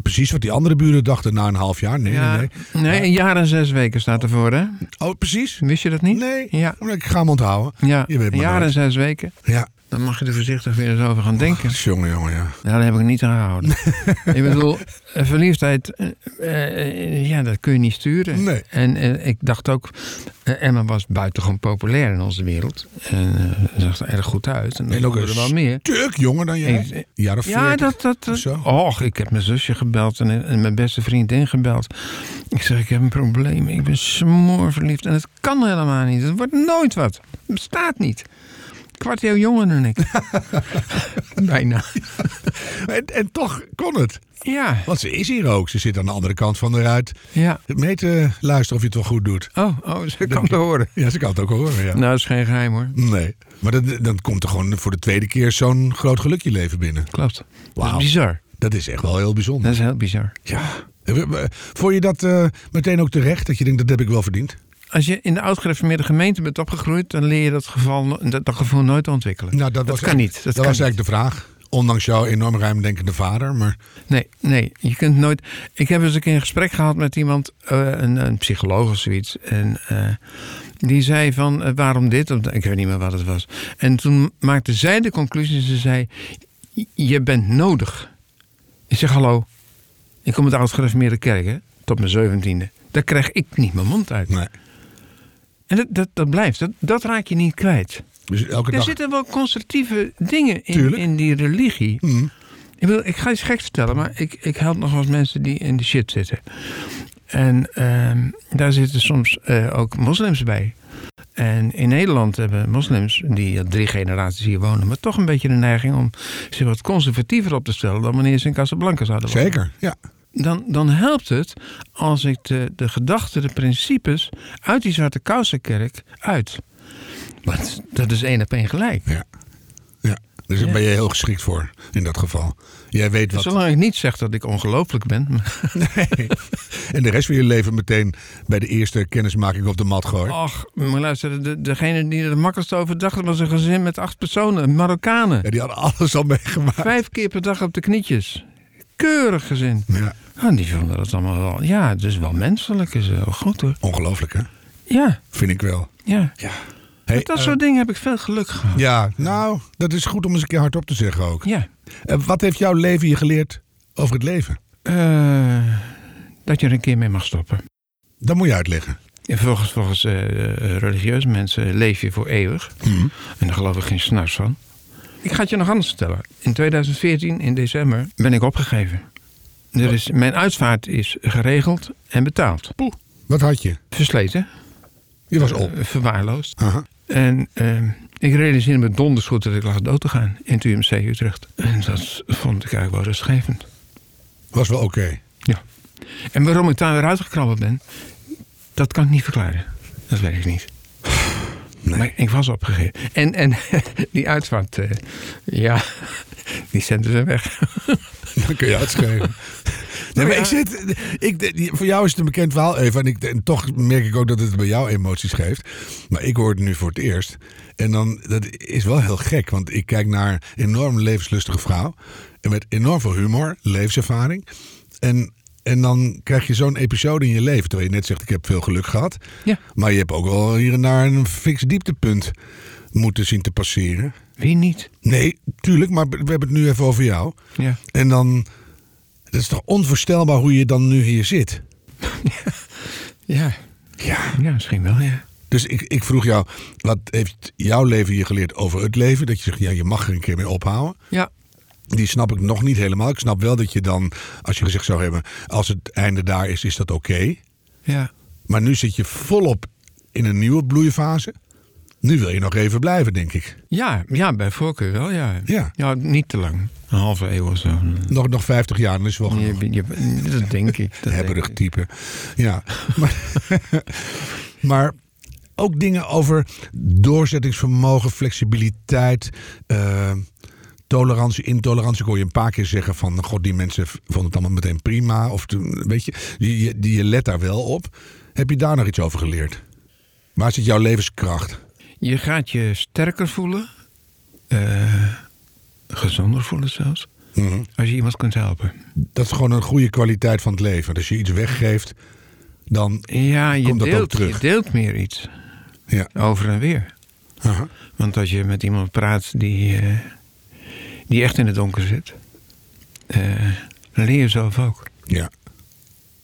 Speaker 2: Precies wat die andere buren dachten na een half jaar. Nee,
Speaker 1: ja,
Speaker 2: nee,
Speaker 1: nee, een jaar en zes weken staat ervoor, hè?
Speaker 2: nee. Oh, precies?
Speaker 1: Wist je dat niet?
Speaker 2: Nee,
Speaker 1: Ja,
Speaker 2: ik ga hem onthouden.
Speaker 1: ja.
Speaker 2: Je weet
Speaker 1: een
Speaker 2: maar
Speaker 1: jaar en
Speaker 2: nooit. Oh,
Speaker 1: zes weken.
Speaker 2: Ja,
Speaker 1: Dan mag je er voorzichtig weer eens over gaan denken.
Speaker 2: jongen, jongen, ja.
Speaker 1: Nou, dat heb ik niet aangehouden. ik bedoel, eh, verliefdheid, eh, eh, ja, dat kun je niet sturen.
Speaker 2: Nee.
Speaker 1: En eh, ik dacht ook, eh, Emma was buitengewoon populair in onze wereld. En eh, zag er erg goed uit. En,
Speaker 2: En ook
Speaker 1: ook
Speaker 2: een
Speaker 1: er wel meer.
Speaker 2: stuk jonger dan jij.
Speaker 1: Ik-
Speaker 2: Een jaar of
Speaker 1: Ja,
Speaker 2: 40.
Speaker 1: dat... dat,
Speaker 2: of zo.
Speaker 1: dat och, ik heb mijn zusje gebeld en, en mijn beste vriendin gebeld. Ik zeg, ik heb een probleem. Ik ben smoorverliefd. En het kan helemaal niet. Het wordt nooit wat. Het bestaat niet. Kwart eeuw jonger dan ik. Bijna.
Speaker 2: En, en toch kon het.
Speaker 1: Ja,
Speaker 2: Want ze is hier ook. Ze zit aan de andere kant van de ruit.
Speaker 1: ja.
Speaker 2: Mee te luisteren of je het wel goed doet.
Speaker 1: Oh, oh ze kan het horen.
Speaker 2: Ja, ze kan het ook horen, ja.
Speaker 1: Nou, dat is geen geheim hoor.
Speaker 2: Nee. Maar dan, dan komt er gewoon voor de tweede keer zo'n groot gelukje leven binnen.
Speaker 1: Klopt. Dat
Speaker 2: Wauw.
Speaker 1: is bizar.
Speaker 2: Dat is echt wel heel bijzonder.
Speaker 1: Dat is heel bizar.
Speaker 2: Ja. Eh, Vond je dat eh, meteen ook terecht? Dat je denkt, dat heb ik wel verdiend?
Speaker 1: Als je in de oud gereformeerde gemeente bent opgegroeid... dan leer je dat, geval, no- dat, dat gevoel nooit te ontwikkelen.
Speaker 2: Nou, dat, was
Speaker 1: kan
Speaker 2: echt-
Speaker 1: niet. Dat, kan
Speaker 2: was
Speaker 1: niet.
Speaker 2: eigenlijk de vraag. Ondanks jouw enorm ruimdenkende vader. Maar
Speaker 1: Nee, nee, je kunt nooit. Ik heb eens een keer een gesprek gehad met iemand, eh, een, een psycholoog of zoiets. En eh, die zei van eh, waarom dit? Of- Ik weet niet meer wat het was. En toen maakte zij de conclusie, ze zei: "J- Je bent nodig. Ik zeg: Hallo, ik kom uit de oud-gereformeerde kerk, hè? tot mijn zeventiende. Daar krijg ik niet mijn mond uit.
Speaker 2: nee.
Speaker 1: En dat, dat, dat blijft, dat, dat raak je niet kwijt.
Speaker 2: Dus elke
Speaker 1: Er
Speaker 2: dag.
Speaker 1: zitten wel constructieve dingen in,
Speaker 2: Tuurlijk.
Speaker 1: in die religie.
Speaker 2: Hmm.
Speaker 1: Ik, wil, ik ga iets geks vertellen, maar ik, ik help nog wel eens mensen die in de shit zitten. En ehm, daar zitten soms eh, ook moslims bij. En in Nederland hebben moslims, die al drie generaties hier wonen, maar toch een beetje de neiging om zich wat conservatiever op te stellen dan wanneer ze in Casablanca zouden wonen.
Speaker 2: Zeker, ja.
Speaker 1: Dan, dan helpt het als ik de, de gedachten, de principes uit die Zwarte Kousenkerk uit. Want dat is één op één gelijk.
Speaker 2: Ja. ja. Dus daar ben je heel geschikt voor in dat geval. Jij weet wat.
Speaker 1: Zolang ik niet zeg dat ik ongelooflijk ben. maar-
Speaker 2: En de rest van je leven meteen bij de eerste kennismaking op de mat gooien.
Speaker 1: Ach, maar luister, de, degene die er het makkelijkst over dacht, was een gezin met acht personen, Marokkanen.
Speaker 2: Ja, die hadden alles al meegemaakt.
Speaker 1: Vijf keer per dag op de knietjes. Keurig gezin.
Speaker 2: Ja.
Speaker 1: Ah, die vonden dat allemaal wel. Ja, het is wel menselijk, is wel goed hoor.
Speaker 2: Ongelooflijk, hè?
Speaker 1: Ja,
Speaker 2: Vind ik wel.
Speaker 1: ja.
Speaker 2: Ja. Hey,
Speaker 1: Met dat
Speaker 2: eh,
Speaker 1: soort dingen heb ik veel geluk gehad.
Speaker 2: ja, nou, dat is goed om eens een keer hardop te zeggen ook.
Speaker 1: Ja.
Speaker 2: Eh, wat heeft jouw leven je geleerd over het leven?
Speaker 1: Eh, dat je er een keer mee mag stoppen.
Speaker 2: Dat moet je uitleggen.
Speaker 1: En volgens volgens eh, eh, religieuze mensen leef je voor eeuwig.
Speaker 2: Hm.
Speaker 1: En daar geloof ik geen snars van. Ik ga het je nog anders vertellen. In 2014, in december, ben ik opgegeven. Er is, mijn uitvaart is geregeld en betaald.
Speaker 2: Wat had je?
Speaker 1: Versleten,
Speaker 2: Je was op.
Speaker 1: eh, verwaarloosd.
Speaker 2: Aha.
Speaker 1: En eh, ik realiseerde me donders goed dat ik lag dood te gaan in het UMC Utrecht. En dat vond ik eigenlijk wel rustgevend.
Speaker 2: Was wel oké.
Speaker 1: Ja. En waarom ik daar weer uitgekrabbeld ben, dat kan ik niet verklaren. Dat weet ik niet. Maar ik was opgegeven. En, en die uitvaart, eh, ja, die zenden ze weg.
Speaker 2: Dan kun je uitschrijven. Nee, maar ik zit, ik, voor jou is het een bekend verhaal, Eva. En, ik, en toch merk ik ook dat het bij jou emoties geeft. Maar ik hoor het nu voor het eerst. En dan, dat is wel heel gek. Want ik kijk naar een enorm levenslustige vrouw. En met enorm veel humor, levenservaring. En, en dan krijg je zo'n episode in je leven. Terwijl je net zegt, ik heb veel geluk gehad.
Speaker 1: Ja.
Speaker 2: Maar je hebt ook wel hier en daar een fix dieptepunt moeten zien te passeren.
Speaker 1: Wie niet?
Speaker 2: Nee, tuurlijk, maar we hebben het nu even over jou.
Speaker 1: Ja.
Speaker 2: En dan. Het is toch onvoorstelbaar hoe je dan nu hier zit?
Speaker 1: Ja,
Speaker 2: Ja.
Speaker 1: ja misschien wel, ja.
Speaker 2: Dus ik, ik vroeg jou, wat heeft jouw leven je geleerd over het leven? Dat je zegt, ja, je mag er een keer mee ophouden.
Speaker 1: Ja,
Speaker 2: Die snap ik nog niet helemaal. Ik snap wel dat je dan, als je gezegd zou hebben, als het einde daar is, is dat oké.
Speaker 1: ja.
Speaker 2: Maar nu zit je volop in een nieuwe bloeifase. Nu wil je nog even blijven, denk ik.
Speaker 1: Ja, ja, bij voorkeur wel, ja.
Speaker 2: Ja.
Speaker 1: niet te lang. Een halve eeuw of zo.
Speaker 2: Nog, nog 50 jaar, dan is het wel genoeg.
Speaker 1: Je, je- dat denk ik. Dat denk
Speaker 2: hebberig
Speaker 1: ik.
Speaker 2: type. Ja. Maar, maar ook dingen over doorzettingsvermogen, flexibiliteit, eh, tolerantie, intolerantie. Ik hoor je een paar keer zeggen van, god, die mensen v- vonden het allemaal meteen prima. Of toen, weet je, die, je- die, je let daar wel op. Heb je daar nog iets over geleerd? Waar zit jouw levenskracht?
Speaker 1: Je gaat je sterker voelen. eh, gezonder voelen zelfs.
Speaker 2: Mhm.
Speaker 1: Als je iemand kunt helpen.
Speaker 2: Dat is gewoon een goede kwaliteit van het leven. Als je iets weggeeft, dan...
Speaker 1: Ja, je,
Speaker 2: Komt dat ook
Speaker 1: deelt,
Speaker 2: terug?
Speaker 1: je deelt meer iets.
Speaker 2: Ja.
Speaker 1: Over en weer.
Speaker 2: Aha.
Speaker 1: Want als je met iemand praat die, eh, die echt in het donker zit. eh, dan leer je zelf ook.
Speaker 2: Ja.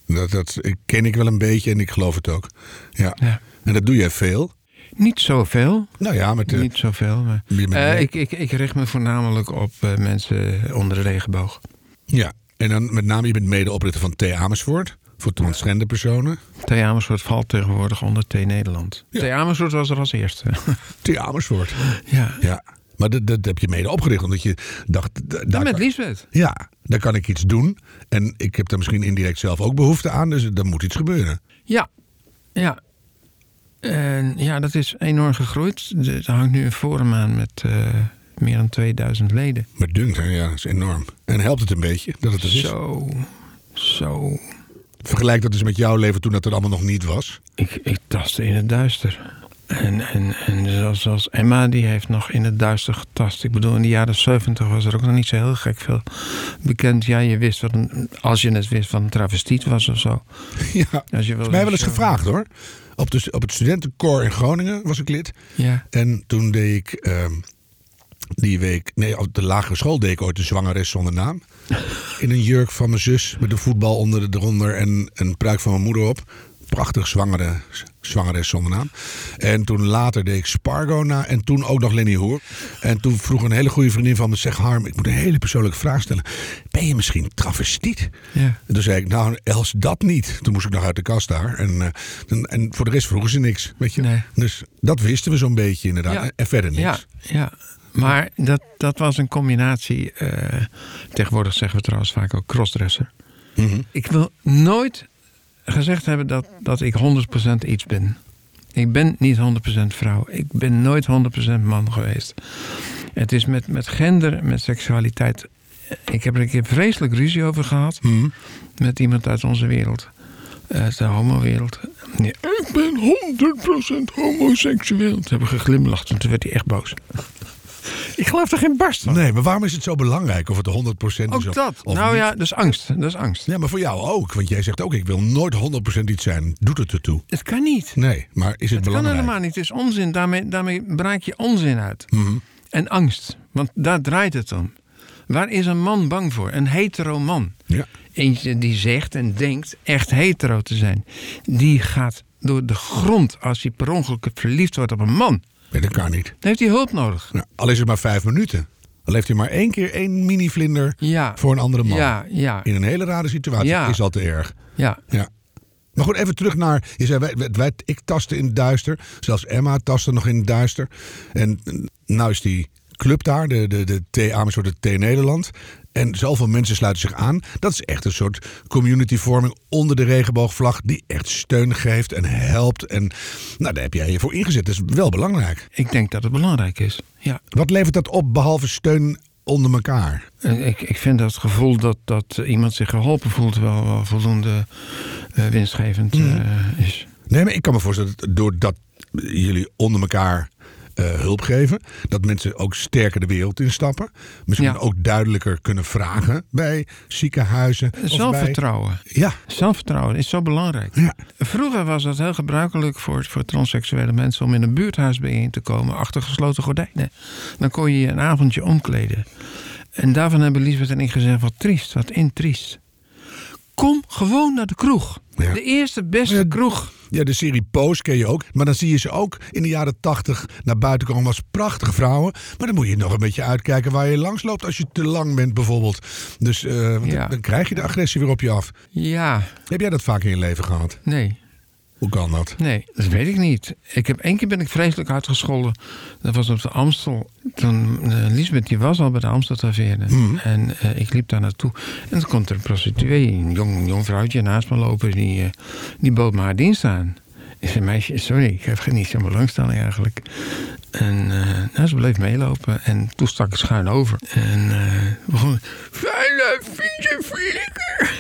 Speaker 2: Dat, dat ken ik wel een beetje en ik geloof het ook. Ja.
Speaker 1: Ja.
Speaker 2: En dat doe jij veel.
Speaker 1: Niet zoveel.
Speaker 2: Nou ja, met de...
Speaker 1: Niet zoveel. Maar,
Speaker 2: Je bent-
Speaker 1: Eh, ik, ik, ik richt me voornamelijk op eh, mensen onder de regenboog.
Speaker 2: Ja. En dan met name, je bent medeoprichter van T. Amersfoort. Voor transgender personen.
Speaker 1: T. Amersfoort valt tegenwoordig onder T. Nederland.
Speaker 2: Ja.
Speaker 1: T. Amersfoort was er als eerste.
Speaker 2: T. Amersfoort.
Speaker 1: ja.
Speaker 2: Ja. Maar dat, dat heb je mede opgericht, omdat je dacht... d- Daar
Speaker 1: En met
Speaker 2: kan-
Speaker 1: Liesbeth.
Speaker 2: Ja, daar kan ik iets doen. En ik heb daar misschien indirect zelf ook behoefte aan. Dus er moet iets gebeuren.
Speaker 1: Ja. Ja. En ja, dat is enorm gegroeid. Er hangt nu een forum aan met eh, meer dan 2000 leden.
Speaker 2: Maar dunkt, hè? ja, dat is enorm. En helpt het een beetje dat het er is?
Speaker 1: Zo. Zo.
Speaker 2: Vergelijk dat eens met jouw leven toen dat er allemaal nog niet was.
Speaker 1: Ik, ik tastte in het duister. En, en, en zoals, zoals Emma, die heeft nog in het duister getast. Ik bedoel, in de jaren 70 was er ook nog niet zo heel gek veel bekend. Ja, je wist wat een, als je het wist wat een travestiet was of zo.
Speaker 2: ja.
Speaker 1: Als je wel eh,
Speaker 2: Is mij wel eens
Speaker 1: zo-
Speaker 2: gevraagd hoor. Op, de, op het studentenkoor in Groningen was ik lid.
Speaker 1: Ja.
Speaker 2: En toen deed ik ehm, die week, nee, op de lagere school deed ik ooit de zwangeres zonder naam. In een jurk van mijn zus met een voetbal onder de eronder en een pruik van mijn moeder op. Prachtig zwangere, zwangeres zonder naam. En toen later deed ik Spargo na en toen ook nog Lenny Hoer. En toen vroeg een hele goede vriendin van me, zeg Harm, ik moet een hele persoonlijke vraag stellen. Ben je misschien travestiet?
Speaker 1: Ja.
Speaker 2: En toen zei ik, nou, els dat niet. Toen moest ik nog uit de kast daar. En, eh, en, en voor de rest vroegen ze niks, weet je.
Speaker 1: Nee.
Speaker 2: Dus dat wisten we zo'n beetje inderdaad.
Speaker 1: Ja.
Speaker 2: En verder niks.
Speaker 1: Ja, ja. Maar dat, dat was een combinatie. eh, tegenwoordig zeggen we trouwens vaak ook crossdresser.
Speaker 2: Mhm.
Speaker 1: Ik wil nooit gezegd hebben dat, dat ik 100% iets ben. Ik ben niet 100% vrouw. Ik ben nooit 100% man geweest. Het is met, met gender, met seksualiteit. Ik heb er een keer vreselijk ruzie over gehad.
Speaker 2: Mhm.
Speaker 1: Met iemand uit onze wereld. Uit de homowereld. Ja, ik ben 100% homoseksueel. Ze hebben geglimlacht en toen werd hij echt boos. ik geloof er geen barst van.
Speaker 2: Nee, maar waarom is het zo belangrijk of het 100% is?
Speaker 1: Hm. Ook
Speaker 2: of-
Speaker 1: dat.
Speaker 2: of
Speaker 1: nou
Speaker 2: niet?
Speaker 1: ja, dat is angst. Dat is angst.
Speaker 2: Ja, maar voor jou ook. Want jij zegt ook, ik wil nooit 100% iets zijn. Doet het ertoe?
Speaker 1: Het kan niet.
Speaker 2: Nee, maar is het,
Speaker 1: Het kan
Speaker 2: belangrijk?
Speaker 1: helemaal niet. Het is onzin. Daarmee, daarmee braak je onzin uit.
Speaker 2: Mhm.
Speaker 1: En angst. Want daar draait het om. Waar is een man bang voor? Een hetero man.
Speaker 2: Ja.
Speaker 1: Eentje die zegt en denkt echt hetero te zijn. Die gaat door de grond als hij per ongeluk verliefd wordt op een man.
Speaker 2: Nee, dat kan niet.
Speaker 1: Dan heeft hij hulp nodig.
Speaker 2: Nou, al is het maar vijf minuten. Al heeft hij maar één keer één mini-vlinder
Speaker 1: Ja.
Speaker 2: voor een andere man.
Speaker 1: Ja, ja,
Speaker 2: In een hele rare situatie
Speaker 1: Ja.
Speaker 2: is al te erg.
Speaker 1: ja.
Speaker 2: Ja. Maar goed, even terug naar. Je zei, wij, wij- wij- ik tastte in het duister. Zelfs Emma tastte nog in het duister. En eh, nou is die club daar, de, de, de T Amersfoort, de T Nederland. En zoveel mensen sluiten zich aan. Dat is echt een soort communityvorming onder de regenboogvlag. Die echt steun geeft en helpt. En nou, daar heb jij je voor ingezet. Dat is wel belangrijk.
Speaker 1: Ik denk dat het belangrijk is. Ja.
Speaker 2: Wat levert dat op behalve steun onder elkaar?
Speaker 1: Eh, Ik, ik vind dat gevoel dat, dat iemand zich geholpen voelt wel, wel voldoende eh, winstgevend
Speaker 2: Mhm.
Speaker 1: eh, is.
Speaker 2: Nee, maar ik kan me voorstellen dat doordat jullie onder elkaar eh, hulp geven, dat mensen ook sterker de wereld instappen. Misschien
Speaker 1: Ja.
Speaker 2: ook duidelijker kunnen vragen bij ziekenhuizen. of bij-
Speaker 1: Zelfvertrouwen.
Speaker 2: Ja,
Speaker 1: Zelfvertrouwen is zo belangrijk.
Speaker 2: ja.
Speaker 1: Vroeger was het heel gebruikelijk voor, voor transseksuele mensen om in een buurthuis bijeen te komen achter gesloten gordijnen. Dan kon je je een avondje omkleden. En daarvan hebben Lisbeth en ik gezegd: wat triest, wat intriest. Kom gewoon naar de kroeg.
Speaker 2: Ja.
Speaker 1: De eerste beste
Speaker 2: Ja.
Speaker 1: kroeg.
Speaker 2: ja, de serie Pose ken je ook. Maar dan zie je ze ook in de jaren tachtig naar buiten komen als prachtige vrouwen. Maar dan moet je nog een beetje uitkijken waar je langs loopt als je te lang bent bijvoorbeeld. Dus eh, want
Speaker 1: Ja.
Speaker 2: dan, dan krijg je de agressie weer op je af.
Speaker 1: Ja,
Speaker 2: Heb jij dat vaak in je leven gehad?
Speaker 1: nee.
Speaker 2: Hoe kan dat?
Speaker 1: Nee, dat weet ik niet. Ik heb één keer ben ik vreselijk uitgescholden. Dat was op de Amstel. Toen eh, Lisbeth die was al bij de Amstel Taverne. En eh, ik liep daar naartoe. En toen komt er een prostituee, een jong, jong vrouwtje naast me lopen. Die, eh, die bood me haar dienst aan. Ik zei, meisje, sorry, ik heb geen- niet zo'n belangstelling eigenlijk. En eh, nou, ze bleef meelopen. En toen stak ik schuin over. En eh begon... Vuile, vieze, flikker.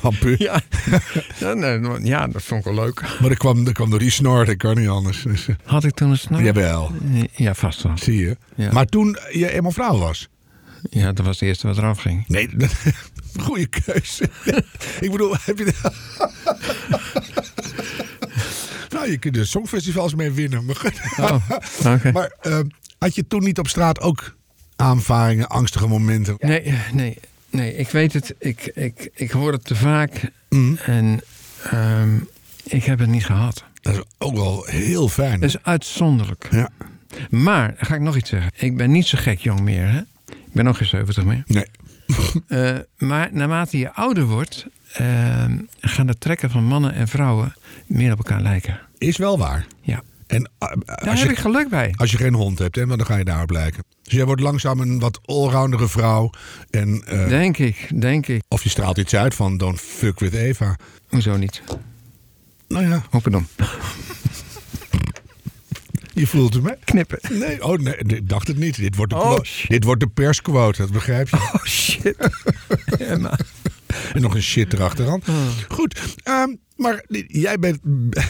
Speaker 2: Kapu.
Speaker 1: Ja. ja, nee, ja, dat vond ik wel leuk.
Speaker 2: Maar er kwam, er kwam door die snor, dat kan niet anders. Dus, eh,
Speaker 1: Had ik toen een snor?
Speaker 2: Jawel,
Speaker 1: Eh, Ja, vast wel.
Speaker 2: zie je.
Speaker 1: Hm? Ja.
Speaker 2: Maar toen je eenmaal vrouw was.
Speaker 1: Ja, dat was het eerste wat eraf ging.
Speaker 2: Nee, goede keuze. Ik bedoel, heb je... nou, je kunt er songfestivals mee winnen. Maar, goed.
Speaker 1: Oh, oké.
Speaker 2: maar eh, had je toen niet op straat ook aanvaringen, angstige momenten?
Speaker 1: Nee, eh, nee, nee, ik weet het. Ik, ik, ik hoor het te vaak.
Speaker 2: Mm.
Speaker 1: En ehm, ik heb het niet gehad.
Speaker 2: Dat is ook wel heel fijn.
Speaker 1: Dat is uitzonderlijk.
Speaker 2: Ja.
Speaker 1: Maar, dan ga ik nog iets zeggen. Ik ben niet zo gek jong meer, hè? Ik ben nog geen 70 meer.
Speaker 2: Nee.
Speaker 1: Eh, maar naarmate je ouder wordt, ehm, gaan de trekken van mannen en vrouwen meer op elkaar lijken.
Speaker 2: Is wel waar.
Speaker 1: Ja,
Speaker 2: En ah, als
Speaker 1: daar
Speaker 2: je-
Speaker 1: heb ik geluk bij.
Speaker 2: Als je geen hond hebt, hè, want dan ga je daarop lijken. Dus jij wordt langzaam een wat allroundere vrouw. En, eh,
Speaker 1: Denk ik, denk ik.
Speaker 2: Of je straalt iets uit van don't fuck with Eva.
Speaker 1: Hoezo niet?
Speaker 2: Nou ja,
Speaker 1: Hoppedom.
Speaker 2: je voelt hem, hè?
Speaker 1: Knippen.
Speaker 2: Nee, oh nee, ik dacht het niet. Dit wordt de,
Speaker 1: Oh,
Speaker 2: quote-
Speaker 1: shit.
Speaker 2: dit wordt de persquote, dat begrijp je.
Speaker 1: Oh shit. Emma.
Speaker 2: En nog een shit erachteraan.
Speaker 1: Ah.
Speaker 2: Goed, ehm, maar jij bent...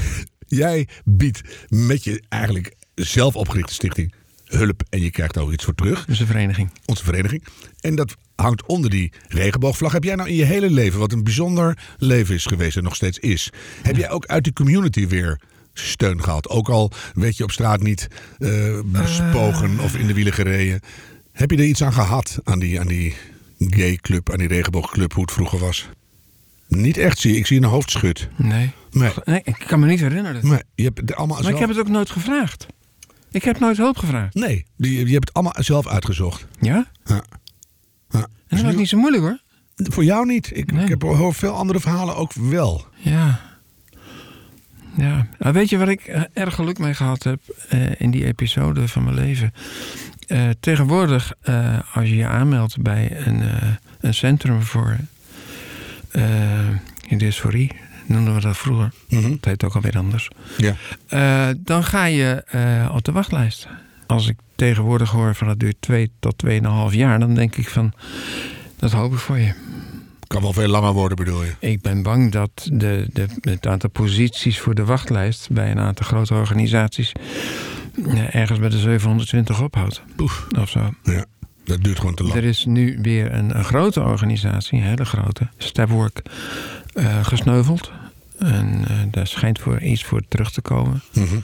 Speaker 2: jij biedt met je eigenlijk zelf opgerichte stichting hulp. En je krijgt daar ook iets voor terug.
Speaker 1: Dus een vereniging.
Speaker 2: onze vereniging. En dat hangt onder die regenboogvlag. Heb jij nou in je hele leven, wat een bijzonder leven is geweest en nog steeds is, heb jij ook uit die community weer steun gehad? Ook al werd je op straat niet eh, bespogen of in de wielen gereden. Heb je er iets aan gehad, aan die, aan die gay club, aan die regenboogclub, hoe het vroeger was? Niet echt, zie je. Ik zie een hoofdschud.
Speaker 1: Nee.
Speaker 2: Nee.
Speaker 1: nee. Ik kan me niet herinneren. Maar,
Speaker 2: Maar je hebt het allemaal zelf...
Speaker 1: ik heb het ook nooit gevraagd. Ik heb nooit hulp gevraagd.
Speaker 2: Nee, je, je hebt het allemaal zelf uitgezocht.
Speaker 1: Ja?
Speaker 2: Ja.
Speaker 1: En
Speaker 2: Ja. Dus
Speaker 1: dat was
Speaker 2: nu-
Speaker 1: niet zo moeilijk hoor.
Speaker 2: Voor jou niet. Ik,
Speaker 1: Nee.
Speaker 2: ik heb, hoor veel andere verhalen ook wel.
Speaker 1: Ja. Ja. Nou, weet je waar ik eh, erg geluk mee gehad heb eh, in die episode van mijn leven? Eh, tegenwoordig, eh, als je je aanmeldt bij een, eh, een centrum voor eh dysforie, noemden we dat vroeger.
Speaker 2: Mhm.
Speaker 1: Dat heet ook alweer anders.
Speaker 2: Ja.
Speaker 1: Eh, dan ga je eh, op de wachtlijst. Als ik tegenwoordig hoor van dat duurt twee tot 2,5 jaar, dan denk ik van dat hoop ik voor je.
Speaker 2: Kan wel veel langer worden, bedoel je?
Speaker 1: Ik ben bang dat de, de, het aantal posities voor de wachtlijst bij een aantal grote organisaties eh, ergens bij de 720 ophoudt.
Speaker 2: Poef.
Speaker 1: Of zo.
Speaker 2: Ja. Dat duurt gewoon te lang.
Speaker 1: Er is nu weer een, een grote organisatie, een hele grote, Stepwork, eh, gesneuveld. En eh, daar schijnt voor iets voor terug te komen.
Speaker 2: Mhm.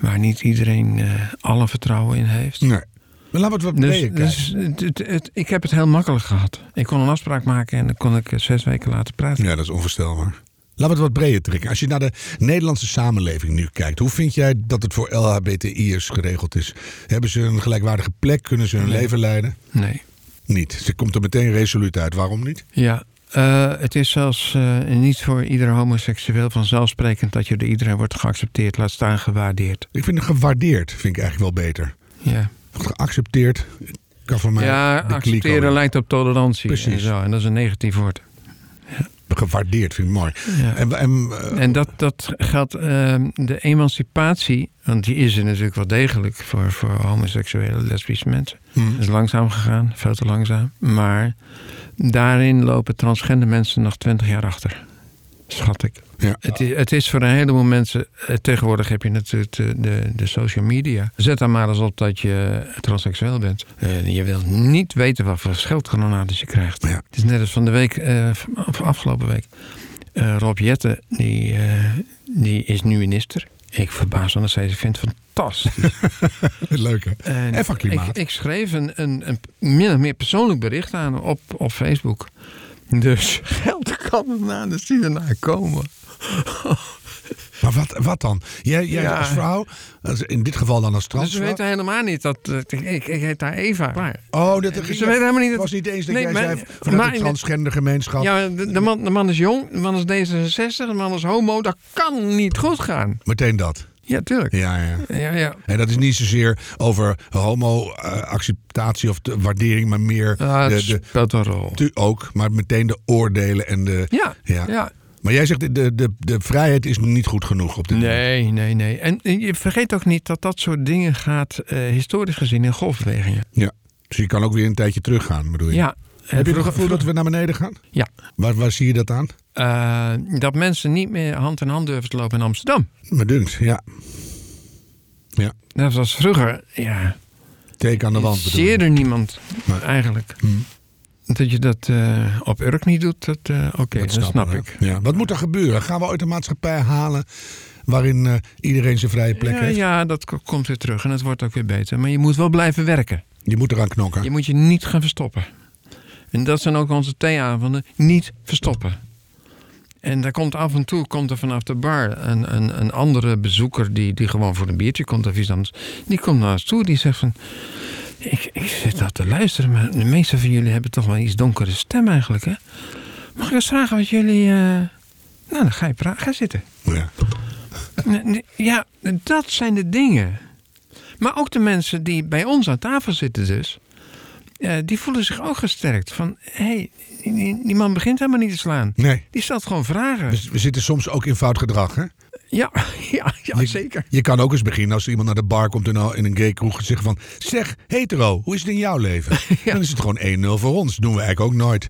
Speaker 1: Waar niet iedereen eh, alle vertrouwen in heeft.
Speaker 2: Nee. Maar laten we het wat
Speaker 1: Dus,
Speaker 2: breder kijken.
Speaker 1: dus het, het- het- ik heb het heel makkelijk gehad. Ik kon een afspraak maken en dan kon ik eh, zes weken later praten.
Speaker 2: Ja, dat is onvoorstelbaar. Laten we het wat breder trekken. Als je naar de Nederlandse samenleving nu kijkt, hoe vind jij dat het voor LHBTI'ers geregeld is? Hebben ze een gelijkwaardige plek? Kunnen ze hun leven leiden?
Speaker 1: Nee.
Speaker 2: Niet. Ze komt er meteen resoluut uit. Waarom niet?
Speaker 1: Ja, eh, het is zelfs eh, niet voor ieder homoseksueel vanzelfsprekend dat je door iedereen wordt geaccepteerd, laat staan gewaardeerd.
Speaker 2: Ik vind het gewaardeerd, vind ik eigenlijk wel beter.
Speaker 1: Ja.
Speaker 2: Geaccepteerd kan voor mij
Speaker 1: ja,
Speaker 2: de kliko.
Speaker 1: accepteren lijkt op tolerantie.
Speaker 2: Precies.
Speaker 1: En, zo, en dat is een negatief woord.
Speaker 2: Gewaardeerd, vind ik mooi.
Speaker 1: Ja.
Speaker 2: En, en, eh,
Speaker 1: En dat, dat gaat ehm, de emancipatie, want die is er natuurlijk wel degelijk voor, voor homoseksuele lesbische mensen.
Speaker 2: hm,
Speaker 1: Dat is langzaam gegaan, veel te langzaam. Maar daarin lopen transgender mensen nog twintig jaar achter. Schat ik.
Speaker 2: ja.
Speaker 1: Het is, het is voor een heleboel mensen. eh, Tegenwoordig heb je natuurlijk de, de, de social media. Zet daar maar eens op dat je transseksueel bent. Eh, je wilt niet weten wat voor scheldgranaten je krijgt.
Speaker 2: Ja.
Speaker 1: Het is net als van de week, eh, van afgelopen week. Eh, Rob Jetten, die, eh, die is nu minister. Ik verbaas me nog steeds. Ik vind het fantastisch.
Speaker 2: Leuk hè?
Speaker 1: En
Speaker 2: En van klimaat.
Speaker 1: Ik, ik schreef een, een, een min of meer persoonlijk bericht aan hem op, op Facebook. Dus geld kan er na, dus die ernaar komen.
Speaker 2: Maar wat, wat dan? Jij, jij
Speaker 1: Ja.
Speaker 2: als vrouw, als- in dit geval dan als
Speaker 1: Dus ze
Speaker 2: transvrouw.
Speaker 1: weten helemaal niet dat. eh, ik, ik, ik heet daar Eva. Klaar.
Speaker 2: Oh, dat
Speaker 1: dus Ze weten helemaal niet dat-
Speaker 2: was niet eens dat
Speaker 1: Nee,
Speaker 2: jij
Speaker 1: maar-
Speaker 2: zei vanuit
Speaker 1: maar-
Speaker 2: de transgender gemeenschap.
Speaker 1: Ja, de, de man, de man is jong, de man is D66, de man is homo. Dat kan niet goed gaan.
Speaker 2: Meteen dat.
Speaker 1: Ja, tuurlijk. Ja,
Speaker 2: Ja, ja.
Speaker 1: ja.
Speaker 2: En dat is niet zozeer over homo-acceptatie of de waardering, maar meer
Speaker 1: Ah, het
Speaker 2: de, de,
Speaker 1: speelt een rol.
Speaker 2: tu- ook, maar meteen de oordelen en de.
Speaker 1: Ja,
Speaker 2: Ja.
Speaker 1: ja.
Speaker 2: Maar jij zegt de, de, de, de vrijheid is niet goed genoeg op dit moment.
Speaker 1: Nee, nee, nee. En eh, je vergeet ook niet dat dat soort dingen gaat eh, historisch gezien in golfbewegingen.
Speaker 2: Ja. Dus je kan ook weer een tijdje teruggaan, bedoel je?
Speaker 1: Ja.
Speaker 2: Heb je
Speaker 1: Eh,
Speaker 2: het gevoel dat we naar beneden gaan?
Speaker 1: Ja.
Speaker 2: Waar, waar zie je dat aan?
Speaker 1: Eh, dat mensen niet meer hand in hand durven te lopen in Amsterdam.
Speaker 2: Me dunkt, ja. Ja,
Speaker 1: Dat was vroeger, ja.
Speaker 2: teken aan de wand bedoel je.
Speaker 1: Zeer er niemand,
Speaker 2: Nee.
Speaker 1: eigenlijk.
Speaker 2: Hm.
Speaker 1: Dat je dat eh, op Urk niet doet, dat, eh, oké, dat,
Speaker 2: snappen
Speaker 1: snap
Speaker 2: we.
Speaker 1: ik.
Speaker 2: Ja. Wat moet er gebeuren? Gaan we ooit een maatschappij halen waarin eh, iedereen zijn vrije plek
Speaker 1: Ja,
Speaker 2: heeft?
Speaker 1: ja, dat k- komt weer terug en het wordt ook weer beter. Maar je moet wel blijven werken.
Speaker 2: Je moet eraan knokken.
Speaker 1: Je moet je niet gaan verstoppen. En dat zijn ook onze theeavonden. Niet verstoppen. En daar komt af en toe komt er vanaf de bar een, een, een andere bezoeker... Die, die gewoon voor een biertje komt of iets anders. Die komt naar ons toe, die zegt van... Ik, ik zit daar te luisteren, maar de meeste van jullie hebben toch wel iets donkere stem eigenlijk, hè? Mag ik eens vragen wat jullie... eh, Nou, dan ga je pra- ga zitten.
Speaker 2: Ja.
Speaker 1: Nee, nee, Ja, dat zijn de dingen. Maar ook de mensen die bij ons aan tafel zitten dus... eh, die voelen zich ook gesterkt. Van, hé, hey, die, die man begint helemaal niet te slaan.
Speaker 2: Nee.
Speaker 1: Die stelt gewoon vragen.
Speaker 2: Dus we zitten soms ook in fout gedrag, hè?
Speaker 1: ja, ja, ja, zeker.
Speaker 2: Je kan ook eens beginnen als er iemand naar de bar komt in een, in een gay kroeg en zegt van... Zeg, hetero, hoe is het in jouw leven? Dan is het gewoon 1-0 voor ons. doen we eigenlijk ook nooit.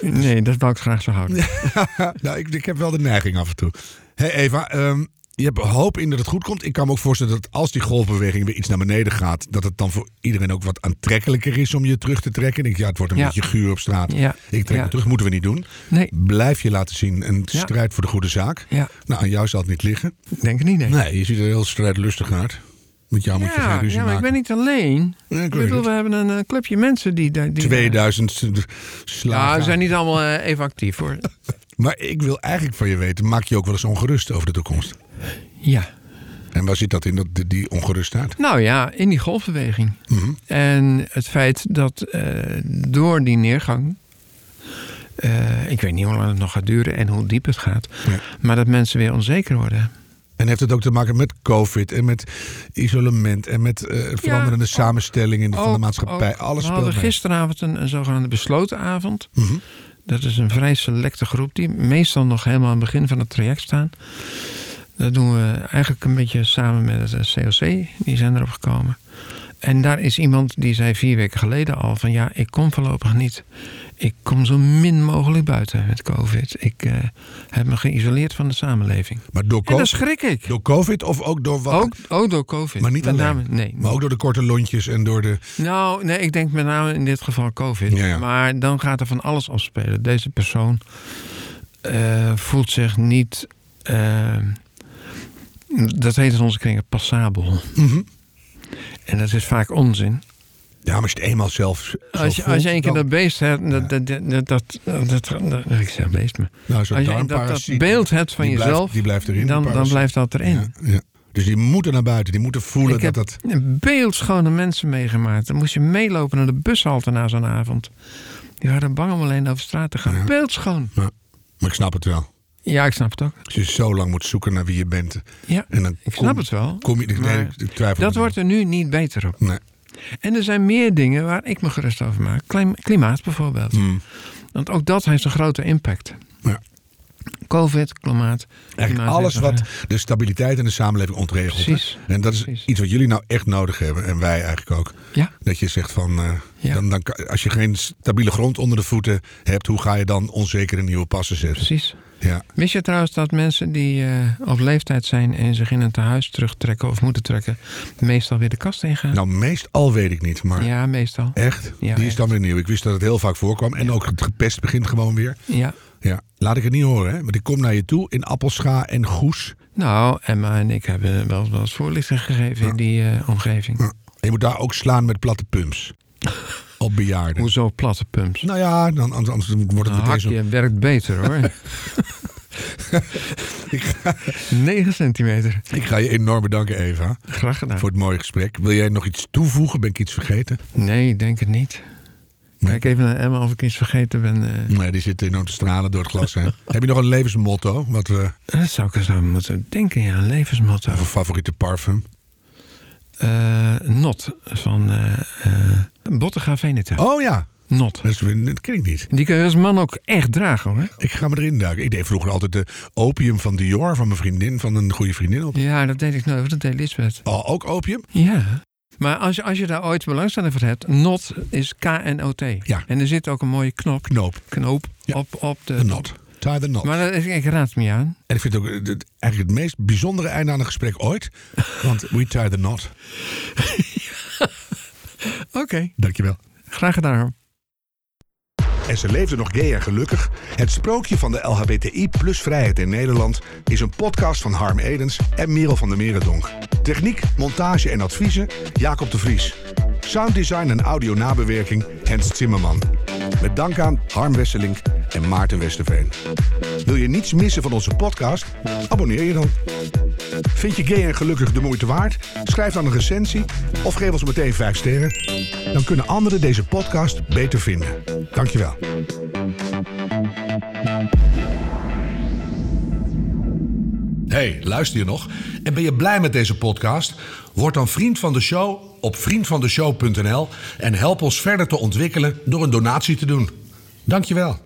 Speaker 1: Nee, dat wou ik graag zo houden.
Speaker 2: nou, ik, ik heb wel de neiging af en toe. Hé Eva, ehm, je hebt hoop in dat het goed komt. Ik kan me ook voorstellen dat als die golfbeweging weer iets naar beneden gaat... dat het dan voor iedereen ook wat aantrekkelijker is om je terug te trekken. Ik denk, ja, het wordt een
Speaker 1: Ja.
Speaker 2: beetje guur op straat.
Speaker 1: Ja.
Speaker 2: Ik trek
Speaker 1: Ja.
Speaker 2: me terug, moeten we niet doen.
Speaker 1: Nee,
Speaker 2: Blijf je laten zien en
Speaker 1: Ja.
Speaker 2: strijd voor de goede zaak.
Speaker 1: ja,
Speaker 2: Nou, aan jou zal het niet liggen.
Speaker 1: ik denk het niet, nee.
Speaker 2: Nee, je ziet er heel strijdlustig uit. Met jou moet je geen
Speaker 1: ja,
Speaker 2: ruzie
Speaker 1: ja, maar ik
Speaker 2: maken.
Speaker 1: ben niet alleen.
Speaker 2: Ja, ik
Speaker 1: Ik
Speaker 2: weet
Speaker 1: bedoel,
Speaker 2: het.
Speaker 1: we hebben een eh, clubje mensen die... daar- die
Speaker 2: 2000
Speaker 1: Ja,
Speaker 2: slagen.
Speaker 1: ze zijn niet allemaal eh, even actief, hoor.
Speaker 2: Maar ik wil eigenlijk van je weten, maak je ook wel eens ongerust over de toekomst?
Speaker 1: Ja.
Speaker 2: En waar zit dat in, dat, die ongerustheid?
Speaker 1: Nou ja, in die golfbeweging.
Speaker 2: Mhm.
Speaker 1: En het feit dat eh, door die neergang. eh, ik weet niet hoe lang het nog gaat duren en hoe diep het gaat.
Speaker 2: Ja.
Speaker 1: Maar dat mensen weer onzeker worden.
Speaker 2: En heeft het ook te maken met COVID en met isolement en met eh, veranderende
Speaker 1: ook-
Speaker 2: samenstelling in de, van de
Speaker 1: Ook-
Speaker 2: maatschappij?
Speaker 1: ook-
Speaker 2: Alles
Speaker 1: we
Speaker 2: speelt
Speaker 1: hadden
Speaker 2: mee.
Speaker 1: gisteravond een, een zogenaamde besloten avond.
Speaker 2: Mhm.
Speaker 1: Dat is een vrij selecte groep die meestal nog helemaal aan het begin van het traject staan. Dat doen we eigenlijk een beetje samen met het eh, COC. Die zijn erop gekomen. En daar is iemand die zei vier weken geleden al van ja, ik kom voorlopig niet. Ik kom zo min mogelijk buiten met COVID. Ik eh, heb me geïsoleerd van de samenleving.
Speaker 2: Maar door
Speaker 1: En daar
Speaker 2: COVID,
Speaker 1: schrik ik.
Speaker 2: door COVID of ook door wat?
Speaker 1: Ook, ook door COVID.
Speaker 2: Maar niet
Speaker 1: Met
Speaker 2: alleen.
Speaker 1: name- nee,
Speaker 2: Maar ook door de korte lontjes en door de.
Speaker 1: nou, nee, ik denk met name in dit geval COVID.
Speaker 2: Ja, ja.
Speaker 1: Maar dan gaat er van alles afspelen. Deze persoon eh, voelt zich niet. eh, dat heet in onze kringen passabel.
Speaker 2: Mhm.
Speaker 1: En dat is vaak onzin.
Speaker 2: Ja, maar als je het eenmaal zelf. zo
Speaker 1: Als je,
Speaker 2: voelt,
Speaker 1: als je een keer
Speaker 2: dan-
Speaker 1: dat beest hebt. Dat, dat, dat, dat, dat, dat- ik zeg beest, maar.
Speaker 2: Nou, zo'n
Speaker 1: Als je dat, dat
Speaker 2: darmparasiet,
Speaker 1: beeld hebt van
Speaker 2: die blijft-
Speaker 1: jezelf.
Speaker 2: die blijft erin. die
Speaker 1: dan, dan
Speaker 2: parasiet.
Speaker 1: blijft dat erin.
Speaker 2: Ja, ja. Dus die moeten naar buiten, die moeten voelen
Speaker 1: Ik
Speaker 2: dat
Speaker 1: heb
Speaker 2: dat.
Speaker 1: beeldschone mensen meegemaakt. Dan moest je meelopen naar de bushalte na zo'n avond. Die waren bang om alleen over straat te gaan.
Speaker 2: Ja.
Speaker 1: Beeldschoon.
Speaker 2: Ja. Maar ik snap het wel.
Speaker 1: Ja, ik snap het ook.
Speaker 2: Als je zo lang moet zoeken naar wie je bent.
Speaker 1: Ja,
Speaker 2: En dan
Speaker 1: ik
Speaker 2: kom-
Speaker 1: snap het wel.
Speaker 2: Kom je. Nee,
Speaker 1: Maar
Speaker 2: ik- ik twijfel.
Speaker 1: Dat
Speaker 2: er
Speaker 1: wordt er nu niet beter op.
Speaker 2: niet. Nee.
Speaker 1: En er zijn meer dingen waar ik me gerust over maak. Klim- Klimaat bijvoorbeeld.
Speaker 2: Hmm.
Speaker 1: Want ook dat heeft een grote impact.
Speaker 2: Ja.
Speaker 1: Covid, klimaat.
Speaker 2: Eigenlijk
Speaker 1: klimaat-
Speaker 2: alles wat de stabiliteit in de samenleving ontregelt.
Speaker 1: Precies.
Speaker 2: En dat is
Speaker 1: Precies.
Speaker 2: iets wat jullie nou echt nodig hebben. En wij eigenlijk ook.
Speaker 1: Ja.
Speaker 2: Dat je zegt van, eh,
Speaker 1: Ja.
Speaker 2: dan, dan, kan- als je geen stabiele grond onder de voeten hebt, hoe ga je dan onzeker in nieuwe passen zetten?
Speaker 1: Precies.
Speaker 2: Ja.
Speaker 1: Wist je trouwens dat mensen die eh, op leeftijd zijn en zich in een tehuis terugtrekken of moeten trekken, meestal weer de kast ingaan?
Speaker 2: Nou, meestal weet ik niet, maar
Speaker 1: Ja, meestal.
Speaker 2: echt,
Speaker 1: Ja,
Speaker 2: die is
Speaker 1: echt.
Speaker 2: dan weer nieuw. Ik wist dat het heel vaak voorkwam. En ook het gepest begint gewoon weer.
Speaker 1: Ja.
Speaker 2: Ja, laat ik het niet horen, hè? want ik kom naar je toe in appelscha en goes.
Speaker 1: Nou, Emma en ik hebben wel wel eens voorlichting gegeven in die eh, omgeving.
Speaker 2: En je moet daar ook slaan met platte pumps. Op bejaarden.
Speaker 1: Hoezo platte pumps?
Speaker 2: Nou ja, dan, anders, anders wordt
Speaker 1: Een
Speaker 2: het meteen zo.
Speaker 1: hakje werkt beter hoor. 9 centimeter.
Speaker 2: Ik ga je enorm bedanken, Eva,
Speaker 1: Graag gedaan.
Speaker 2: voor het mooie gesprek. Wil jij nog iets toevoegen? Ben ik iets vergeten?
Speaker 1: Nee, ik denk het niet.
Speaker 2: Nee.
Speaker 1: Kijk even naar Emma of ik iets vergeten ben. eh.
Speaker 2: Nee, die zit enorm te stralen door het glas heen. Heb je nog een levensmotto? Wat we,
Speaker 1: Dat zou ik eens aan moeten denken, ja. Een levensmotto.
Speaker 2: of een favoriete parfum?
Speaker 1: Eh, Not van eh eh Bottega Veneta.
Speaker 2: Oh ja,
Speaker 1: Not.
Speaker 2: dat, is, weer- dat ken ik niet.
Speaker 1: Die kun je als man ook echt dragen hoor.
Speaker 2: Ik ga me erin duiken. Ik deed vroeger altijd de opium van Dior, van mijn vriendin, van een goede vriendin op.
Speaker 1: Ja, dat deed ik nooit. want Dat deed Lisbeth.
Speaker 2: Oh, ook opium?
Speaker 1: Ja. Maar als je, als je daar ooit belangstelling voor hebt, NOT is K-N-O-T.
Speaker 2: Ja.
Speaker 1: En er zit ook een mooie knop,
Speaker 2: Knoop.
Speaker 1: knoop
Speaker 2: Ja.
Speaker 1: op, op de...
Speaker 2: De not. Tie the knot.
Speaker 1: Maar dat is, ik raad het me aan.
Speaker 2: En ik vind het ook eh, het- eigenlijk het meest bijzondere einde aan een gesprek ooit. Want we tie the knot.
Speaker 1: Oké,
Speaker 2: Dankjewel.
Speaker 1: graag gedaan. hoor.
Speaker 3: En ze leefde nog gay en gelukkig. Het sprookje van de LHBTI plus vrijheid in Nederland is een podcast van Harm Edens en Merel van der Merendonk. Techniek, montage en adviezen Jacob de Vries. Sounddesign en audio nabewerking Hens Zimmerman. Met dank aan Harm Wesselink en Maarten Westerveen. Wil je niets missen van onze podcast? Abonneer je dan. Vind je gay en gelukkig de moeite waard? Schrijf dan een recensie of geef ons meteen 5 sterren. Dan kunnen anderen deze podcast beter vinden. Dankjewel.
Speaker 2: Hey, luister je nog? En ben je blij met deze podcast? Word dan vriend van de show op vriendvandeshow.nl en help ons verder te ontwikkelen door een donatie te doen. Dankjewel.